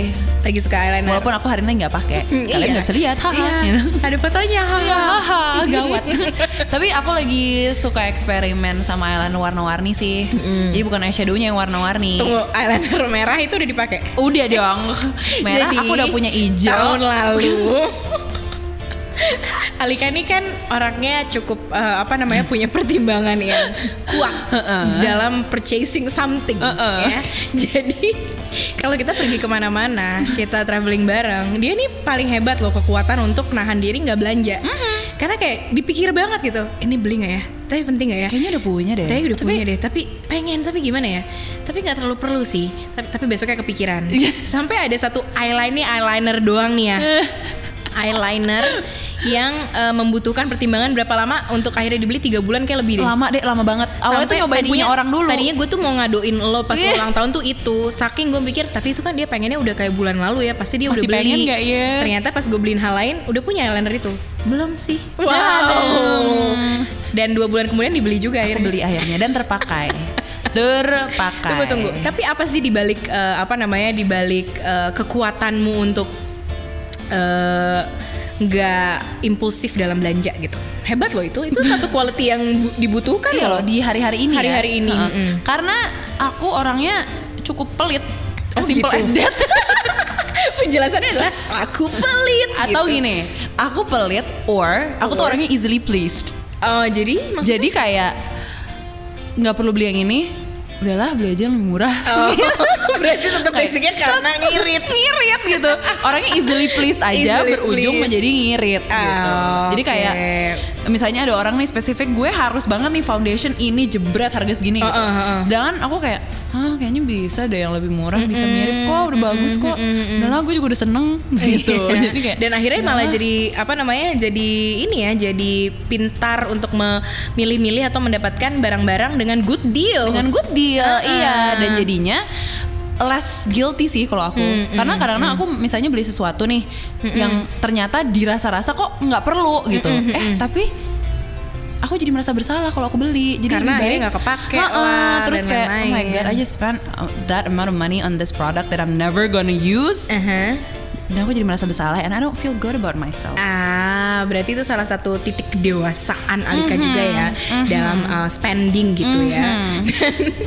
S2: lagi suka eyeliner
S1: Mm-hmm. walaupun aku hari ini nggak
S2: [laughs]
S1: pakai kalian nggak bisa lihat haha
S2: Nah. Iya, [laughs]
S1: gitu.
S2: ada fotonya
S1: Ya, haha, gawat. [laughs] Tapi aku lagi suka eksperimen sama eyeliner warna-warni sih. Jadi bukan eyeshadownya yang warna-warni.
S2: tunggu eyeliner merah itu udah dipakai
S1: Udah
S2: [laughs]
S1: dong. Merah
S2: Jadi,
S1: aku udah punya hijau.
S2: Tahun lalu. [laughs] Alika ini kan orangnya cukup eh, apa namanya punya pertimbangan yang kuat dalam purchasing something
S1: Heeh.
S2: ya. Jadi kalau kita pergi kemana-mana, kita traveling bareng, dia nih paling hebat loh kekuatan untuk nahan diri nggak belanja. Karena kayak dipikir banget gitu, ini beli nggak ya? Tapi penting nggak ya?
S1: Kayaknya udah punya deh.
S2: Tapi udah punya deh, tapi pengen tapi gimana ya? Tapi nggak terlalu perlu sih. Tapi, tapi besoknya kepikiran.
S1: Iya.
S2: Sampai ada satu eyeliner nih eyeliner doang nih ya.
S1: [laughs]
S2: eyeliner yang eh, membutuhkan pertimbangan berapa lama untuk akhirnya dibeli tiga bulan kayak lebih deh.
S1: lama deh, lama banget. Awalnya tuh
S2: Sampai
S1: nyobain
S2: tadinya-
S1: punya orang dulu. Iya.
S2: Tadinya gue tuh mau ngadoin lo pas
S1: Ih.
S2: ulang tahun tuh itu. Saking gue mikir, tapi itu kan dia pengennya udah kayak bulan lalu ya. Pasti dia
S1: Masih
S2: udah beli.
S1: pengen nggak ya?
S2: Ternyata pas gue beliin hal lain, udah punya eyeliner itu. Belum sih.
S1: Wow.
S2: Dan dua bulan kemudian dibeli juga
S1: aku
S2: akhirnya.
S1: beli akhirnya dan
S2: [laughs]
S1: terpakai. terpakai.
S2: Tunggu tunggu.
S1: Kan.
S2: Tapi apa sih dibalik eh, apa namanya dibalik eh, kekuatanmu untuk eh, nggak impulsif dalam belanja gitu? Hebat loh itu. Itu satu quality yang bu- dibutuhkan
S1: Iya
S2: loh.
S1: loh di hari-hari ini. ya.
S2: Hari-hari ini,
S1: Heeh.
S2: mm-mm.
S1: Karena aku orangnya cukup pelit.
S2: Oh,
S1: As simple
S2: gitu.
S1: as that. [laughs]
S2: Penjelasannya adalah aku pelit
S1: Atau
S2: gitu.
S1: gini, aku pelit or aku tuh
S2: Or.
S1: orangnya easily pleased.
S2: Oh, jadi maksud-
S1: Jadi kayak nggak perlu beli yang ini, udahlah beli aja yang lebih murah.
S2: [laughs] Oh, berarti tetap basicnya karena ngirit.
S1: ngirit gitu. Orangnya easily pleased aja
S2: Easily
S1: berujung
S2: pleased.
S1: menjadi ngirit gitu.
S2: Ah,
S1: Jadi kayak misalnya ada orang nih spesifik gue harus banget nih foundation ini jebret harga segini gitu.
S2: Uh, uh, uh.
S1: Sedangkan aku kayak Hah kayaknya bisa deh yang lebih murah bisa mirip kok udah bagus kok. Udah lah gue juga udah seneng [laughs] gitu. [laughs]
S2: Iya.
S1: Jadi kayak
S2: dan akhirnya malah jadi apa namanya jadi ini ya jadi pintar untuk memilih-milih atau mendapatkan barang-barang dengan good deal
S1: dengan good deal iya dan jadinya less guilty sih kalau aku karena kadang-kadang aku misalnya beli sesuatu nih yang ternyata dirasa-rasa kok nggak perlu gitu eh tapi aku jadi merasa bersalah kalau aku beli jadi lebih
S2: Karena akhirnya
S1: baik-
S2: nggak kepake
S1: Ha-ha,
S2: lah, dan
S1: terus kayak oh my
S2: lain-lain."
S1: god I just spent uh, that amount of money on this product that I'm never gonna use
S2: Aha.
S1: dan aku jadi merasa bersalah and I don't feel good about myself
S2: Ah, berarti itu salah satu titik kedewasaan Alika
S1: Mm-hmm.
S2: juga ya dalam uh, spending gitu ya. Dan,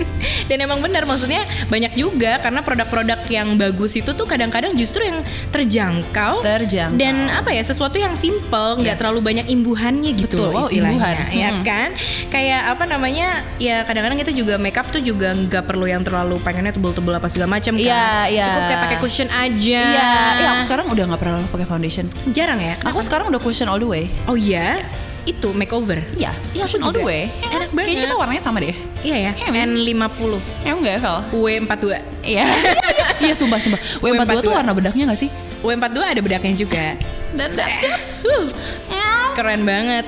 S2: [laughs] dan emang benar maksudnya banyak juga karena produk-produk yang bagus itu tuh kadang-kadang justru yang terjangkau,
S1: Terjangkau.
S2: dan apa ya sesuatu yang simple, nggak terlalu banyak imbuhannya gitu
S1: Betul, wow,
S2: loh
S1: imbuhan.
S2: istilahnya, ya
S1: Mm.
S2: kan? Kayak apa namanya? Ya kadang-kadang kita juga makeup tuh juga nggak perlu yang terlalu pengennya tebel-tebel apa segala macam kan.
S1: Iya, iya.
S2: Cukup kayak pakai cushion aja.
S1: Iya, eh, aku sekarang udah nggak pernah pakai foundation.
S2: jarang ya.
S1: Aku sekarang udah cushion all the way.
S2: Oh iya, itu makeover.
S1: Iya, iya cushion
S2: aku
S1: all the
S2: juga.
S1: way.
S2: Enak banget.
S1: Kayaknya kita warnanya sama deh.
S2: Iya ya,
S1: Iya,
S2: N50,
S1: Emang nggak Vel?
S2: W42.
S1: Iya. [laughs] Iya, sumpah, sumpah. W42 tuh
S2: W42.
S1: warna bedaknya nggak sih?
S2: W42 E ada bedaknya juga.
S1: Dan that's it.
S2: Keren banget.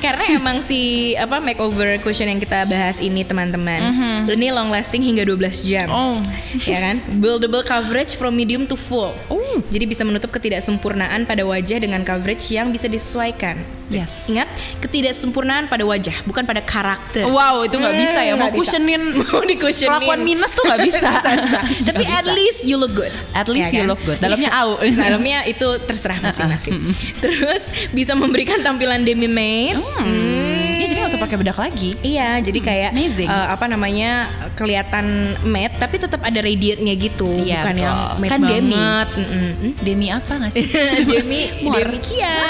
S2: Karena emang si apa makeover cushion yang kita bahas ini teman-teman. Ini long lasting hingga 12 jam.
S1: [laughs] Mm-hmm. Oh.
S2: Ya kan? Buildable coverage from medium to full.
S1: Oh.
S2: Jadi bisa menutup ketidaksempurnaan pada wajah dengan coverage yang bisa disesuaikan.
S1: Yes.
S2: Ingat, ketidaksempurnaan pada wajah, bukan pada karakter.
S1: Wow, itu nggak
S2: Hmm,
S1: bisa ya. Mau
S2: nggak bisa.
S1: cushionin,
S2: [laughs] mau di cushionin.
S1: kelakuan minus tuh [laughs] nggak bisa.
S2: [laughs] Tapi
S1: Nggak
S2: at
S1: bisa.
S2: least you look good. Ya kan? Iya.
S1: At least you
S2: [laughs]
S1: look good. Dalamnya au.
S2: Dalamnya itu
S1: [laughs]
S2: terserah masing-masing. Terus bisa memberikan tampilan demi maid.
S1: Hmm. Ya, jadi nggak usah pakai bedak lagi.
S2: Iya, jadi kayak
S1: Hmm. Amazing.
S2: eh, apa namanya kelihatan matte tapi tetap ada radiate-nya gitu,
S1: Iya,
S2: bukan yang
S1: betul.
S2: matte
S1: Kan
S2: banget.
S1: demi.
S2: Mm-mm. [laughs]
S1: Demi apa nggak [laughs] sih?
S2: demi
S1: Muara.
S2: demikian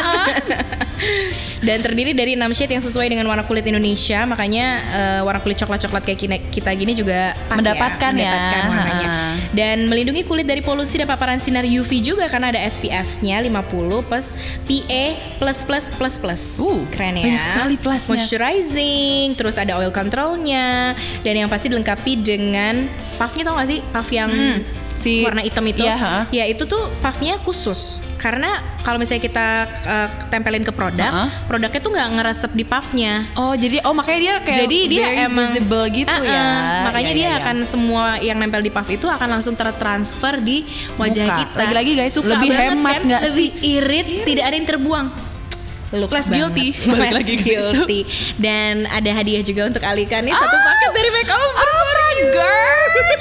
S2: dan terdiri dari 6 shade yang sesuai dengan warna kulit Indonesia makanya eh, warna kulit coklat coklat kayak kine- kita gini juga pas
S1: Mendapatkan ya.
S2: mendapatkan warnanya
S1: Ha-ha.
S2: dan melindungi kulit dari polusi dan paparan sinar UV juga karena ada SPF-nya 50 plus PA plus plus plus plus
S1: Uh,
S2: keren ya
S1: banyak sekali plusnya.
S2: moisturizing terus ada oil controlnya dan yang pasti dilengkapi dengan puffnya tau gak sih puff yang
S1: Hmm, si-
S2: warna hitam itu
S1: Iya, ha.
S2: Ya itu tuh puffnya khusus karena kalau misalnya kita uh, tempelin ke produk,
S1: Ha-ha.
S2: produknya tuh nggak ngeresep di puffnya.
S1: Oh, jadi oh makanya dia kayak
S2: Jadi dia
S1: very
S2: emang
S1: visible gitu
S2: Ah-ah,
S1: ya.
S2: Makanya
S1: Iya,
S2: dia
S1: iya, iya.
S2: akan semua yang nempel di puff itu akan langsung tertransfer di wajah
S1: Muka.
S2: kita.
S1: Lagi-lagi, guys,
S2: Suka
S1: lebih
S2: banget,
S1: hemat
S2: kan?
S1: nggak
S2: Lebih irit, tidak ada yang terbuang. Looks
S1: Less
S2: banget.
S1: guilty. [laughs] Balik
S2: Less
S1: lagi ke situ. Ah!
S2: guilty. Dan ada hadiah juga untuk Alika nih Eh, satu paket dari makeover for you.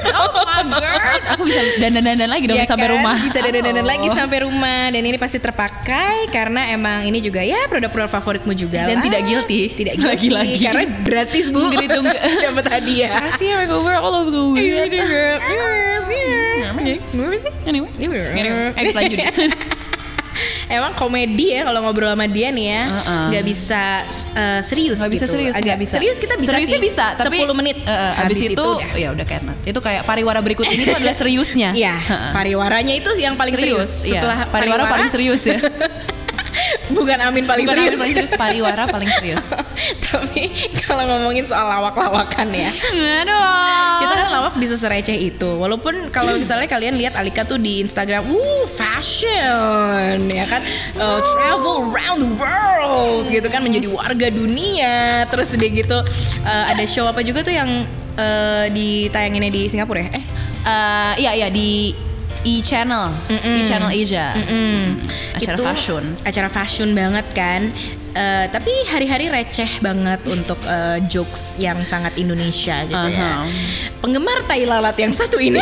S1: Oh [laughs] my god. Aku bisa dandan-dandan lagi dong
S2: Iya
S1: sampai
S2: kan?
S1: rumah.
S2: Bisa dandan-dandan
S1: Oh.
S2: lagi sampai rumah dan ini pasti terpakai karena emang ini juga ya produk-produk favoritmu juga
S1: Dan
S2: lah.
S1: tidak guilty.
S2: Tidak guilty
S1: [laughs] Lagi-lagi.
S2: karena gratis Bu.
S1: Menggiring-
S2: [laughs] dapat hadiah.
S1: Makasih ya makeover all over the
S2: Iya,
S1: world.
S2: Gimana iya. sih? Iya.
S1: Anyway,
S2: [laughs]
S1: anyway, ayo kita lanjut. ya.
S2: Emang komedi ya kalau ngobrol sama dia nih ya
S1: Uh-uh.
S2: nggak bisa eh, serius
S1: Gak bisa
S2: gitu.
S1: serius,
S2: Agak
S1: nggak bisa.
S2: Serius kita bisa
S1: Seriusnya
S2: sih.
S1: bisa, tapi
S2: 10 menit
S1: Eh, eh, habis, itu,
S2: udah.
S1: ya udah kayak Itu kayak pariwara berikut ini tuh adalah seriusnya. [laughs]
S2: Iya,
S1: Heeh.
S2: pariwaranya itu sih yang paling serius.
S1: Uh-uh. iya.
S2: Setelah
S1: pariwara, paling serius ya.
S2: bukan Amin [laughs] paling
S1: Bukan
S2: serius.
S1: serius. paling serius, pariwara paling
S2: [laughs]
S1: serius.
S2: Tapi kalau ngomongin soal lawak-lawakan ya,
S1: Aduh.
S2: kita kan lawak bisa sereceh itu. Walaupun kalau misalnya kalian lihat Alika tuh di Instagram, uh fashion ya kan, Uh, travel around the world gitu kan menjadi warga dunia. Terus dia gitu uh, ada show apa juga tuh yang uh, ditayanginnya di Singapura ya? Eh
S1: Eh, iya iya di E Channel, E Channel Asia. Acara
S2: itu
S1: fashion.
S2: acara fashion banget kan Eh, tapi hari-hari receh banget untuk eh, jokes yang sangat Indonesia gitu
S1: Aha.
S2: ya penggemar tai lalat yang
S1: [laughs]
S2: satu ini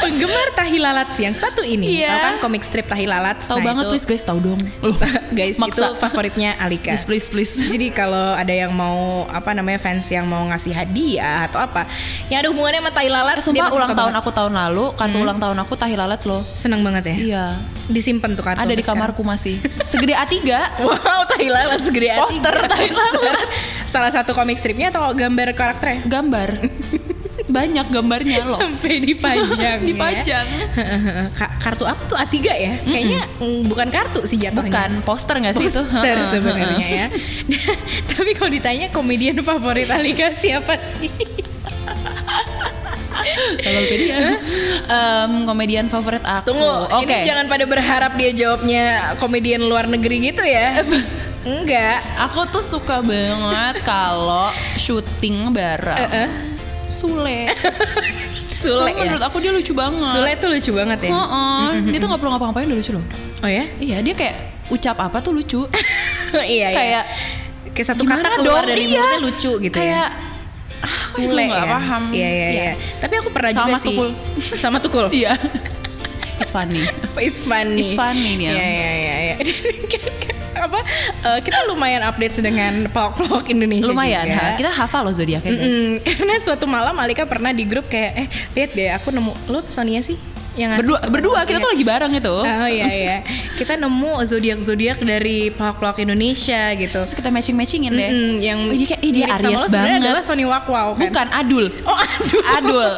S2: penggemar tahi lalat yang satu ini
S1: Iya.
S2: Tau kan komik strip tahi lalat Nah,
S1: Tahu banget please guys, tahu dong.
S2: [laughs] guys itu
S1: Maksa.
S2: favoritnya Alika
S1: Please please please.
S2: jadi kalau ada yang mau apa namanya fans yang mau ngasih hadiah atau apa yang ada hubungannya sama tai lalat dia
S1: Sumpah
S2: pasti
S1: ulang
S2: suka
S1: tahun
S2: banget.
S1: aku tahun lalu, kartu ulang tahun aku tahi lalat loh.
S2: seneng banget ya
S1: Iya. kan.
S2: disimpan tuh kartu kan.
S1: Ada di
S2: sampai sekarang.
S1: kamarku [laughs] masih. Segede A3.
S2: Wow, tai lalat segede hati.
S1: Poster tai lalat.
S2: Salah satu komik stripnya atau gambar karakternya?
S1: Gambar. Banyak gambarnya loh.
S2: Sampai [laughs] dipajang. ya.
S1: Dipajang.
S2: Ka- kartu apa tuh A3 ya? Kayaknya mm, bukan kartu sih jatuhnya.
S1: Bukan poster nggak sih itu?
S2: [laughs] Poster [laughs] sebenarnya ya. Tapi kalau ditanya komedian favorit Alika siapa sih?
S1: Kalau [laughs] tadi komedian favorit aku. Oke.
S2: Tunggu, ini jangan pada berharap dia jawabnya komedian luar negeri gitu ya. Enggak. [laughs]
S1: Aku tuh suka banget kalau syuting bareng.
S2: Eh, eh.
S1: Sule.
S2: [laughs] Sule
S1: Karena
S2: ya.
S1: Menurut aku dia lucu banget.
S2: Sule tuh lucu banget ya.
S1: Heeh. Dia tuh nggak perlu ngapa-ngapain udah lucu loh.
S2: Oh ya?
S1: Iya, dia kayak ucap apa tuh lucu.
S2: iya, iya.
S1: kayak
S2: kayak satu
S1: gimana
S2: kata keluar
S1: dong?
S2: dari
S1: Iya.
S2: mulutnya lucu [laughs] gitu ya.
S1: kayak "Ah,
S2: Sule
S1: nggak
S2: ya.
S1: paham.
S2: Iya, iya,
S1: Iya.
S2: iya. Tapi aku pernah
S1: Sama
S2: juga sih.
S1: Tukul.
S2: [laughs] Sama tukul.
S1: [laughs] Iya. It's funny.
S2: It's funny.
S1: It's funny,
S2: ya.
S1: Nia.
S2: Iya, iya, iya, iya. [laughs] Dan kan- kan- apa eh, kita lumayan update dengan pelok-pelok Indonesia
S1: [laughs] Lumayan,
S2: Iya juga.
S1: ha. kita hafal loh zodiaknya guys.
S2: Mm, [laughs] karena suatu malam Alika pernah di grup kayak eh lihat deh aku nemu lo Sonia sih yang ngasih
S1: Berdua, berdua kita
S2: Iya.
S1: tuh lagi bareng itu.
S2: Oh iya iya. Kita nemu zodiak-zodiak dari pelak-pelak Indonesia gitu.
S1: Terus kita matching-matchingin deh.
S2: Mm-mm, Hmm, yang
S1: Oh, jadi kayak, ih, dia
S2: mirip sama
S1: Aries
S2: lo sebenarnya
S1: banget.
S2: adalah Sony Wakwau kan?
S1: Bukan adul.
S2: Oh, aduh.
S1: [laughs] Adul.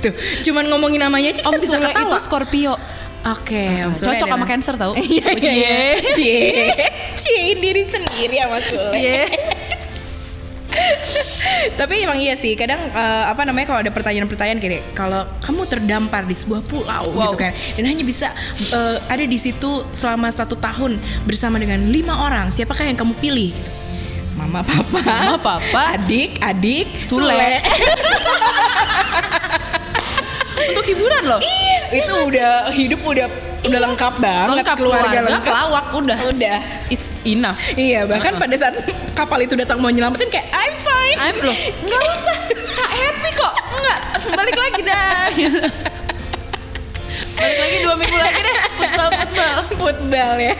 S2: Tuh, cuman ngomongin namanya aja
S1: Om
S2: kita bisa
S1: Sule
S2: ketawa. Ah,
S1: itu Scorpio.
S2: Oke, Om Sule
S1: Cocok sama
S2: adalah-
S1: Cancer tau.
S2: Iya iya. iya. [laughs] Cie.
S1: Iya.
S2: Ciein diri sendiri sama Sule. Tapi emang iya sih, kadang eh, apa namanya kalau ada pertanyaan-pertanyaan kayak kalau kamu terdampar di sebuah pulau
S1: Wow.
S2: gitu kan dan hanya bisa eh, ada di situ selama satu tahun bersama dengan lima orang, siapakah yang kamu pilih? Gitu. Mama, papa,
S1: Mama, papa,
S2: adik, adik,
S1: Sule. [laughs] Untuk hiburan
S2: Iya.
S1: loh.
S2: itu udah hidup udah udah lengkap banget
S1: iya, Lengkap
S2: keluarga, lengkap.
S1: pelawak udah.
S2: Udah.
S1: Is enough.
S2: Iya, bahkan pada saat kapal itu datang mau nyelamatin kayak I'm fine.
S1: I'm loh. Eh. Enggak usah. Kak happy kok. Enggak. Balik lagi dah. Balik lagi dua minggu lagi deh. Futsal futsal.
S2: football ya.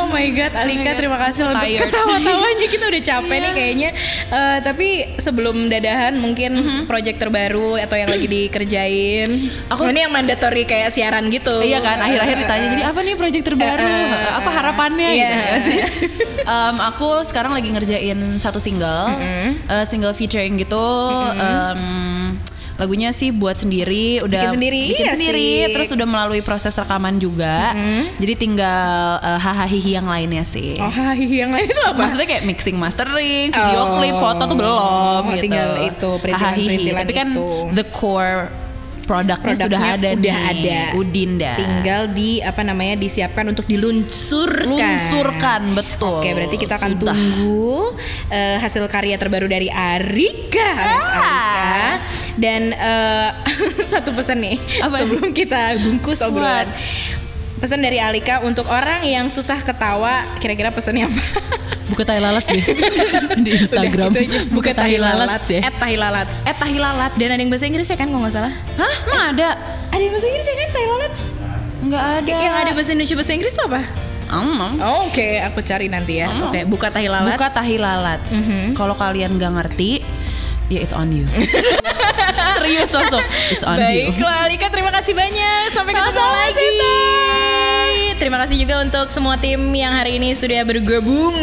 S2: Oh my god,
S1: God,
S2: Alika terima kasih
S1: I'm so
S2: untuk
S1: tired. Iya.
S2: ketawa-tawanya kita udah capek nih kayaknya. Eh, tapi sebelum dadahan mungkin
S1: Mhm.
S2: project terbaru atau yang lagi dikerjain.
S1: Aku-
S2: Oh, ini yang mandatory kayak siaran gitu.
S1: Iya kan, akhir-akhir ditanya jadi apa nih proyek terbaru?
S2: Eh, eh,
S1: apa harapannya
S2: iya.
S1: gitu ya sih? Em, aku sekarang lagi ngerjain satu single, eh, single featuring gitu. em, lagunya sih buat sendiri, udah
S2: Bikin sendiri,
S1: bikin
S2: iya
S1: sendiri,
S2: sih.
S1: terus udah melalui proses rekaman juga. Jadi tinggal eh, hahaha hihi yang lainnya sih.
S2: Oh, hai, yang lain itu apa?
S1: Maksudnya kayak mixing mastering, video
S2: Oh.
S1: klip, foto tuh belum
S2: Oh,
S1: gitu.
S2: tinggal itu,
S1: Hahaha, hihi.
S2: perintilan-perintilan
S1: Tapi kan
S2: itu.
S1: the core produknya,
S2: Produknya
S1: sudah ada
S2: udah
S1: nih.
S2: ada.
S1: Udin dah.
S2: Tinggal di apa namanya disiapkan untuk diluncurkan.
S1: Lunsurkan, betul.
S2: Oke, berarti kita akan
S1: Sudah.
S2: tunggu eh, hasil karya terbaru dari Arika alias
S1: Ah.
S2: Arika. Dan eh, [laughs] satu pesan nih
S1: Apa?
S2: sebelum kita bungkus
S1: What?
S2: obrolan. Pesan dari Alika untuk orang yang susah ketawa, kira-kira pesannya [laughs] apa?
S1: Buka tai lalat
S2: [laughs]
S1: sih di Instagram.
S2: Udah, itu aja.
S1: Buka tai lalat
S2: Lalat,
S1: ya.
S2: at tai lalat.
S1: Eh tai lalat.
S2: Dan ada yang bahasa Inggris ya kan kalau nggak salah?
S1: Hah? Emang ada?
S2: Ada yang bahasa Inggris ya kan tai lalat?
S1: Enggak ada.
S2: Yang ada bahasa Indonesia bahasa Inggris itu apa?
S1: Emang.
S2: Iya. Oh, Oke, aku cari nanti ya. Oke, buka tahi lalat. Mm-hmm.
S1: Buka tai lalat. Kalau kalian nggak ngerti, ya it's on
S2: [laughs]
S1: you. Serius langsung. It's on you.
S2: Baiklah, Alika terima kasih banyak. Sampai ketemu lagi. Terima kasih juga untuk semua tim yang hari ini sudah bergabung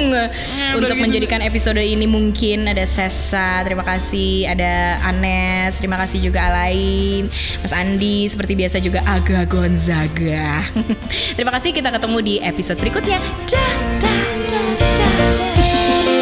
S2: untuk menjadikan episode ini mungkin ada Sesa, terima kasih, ada Anes, terima kasih juga Alain, Mas Andi, seperti biasa juga Aga Gonzaga. [laughs] terima kasih, kita ketemu di episode berikutnya. Dah, dah, dah, dah, dah.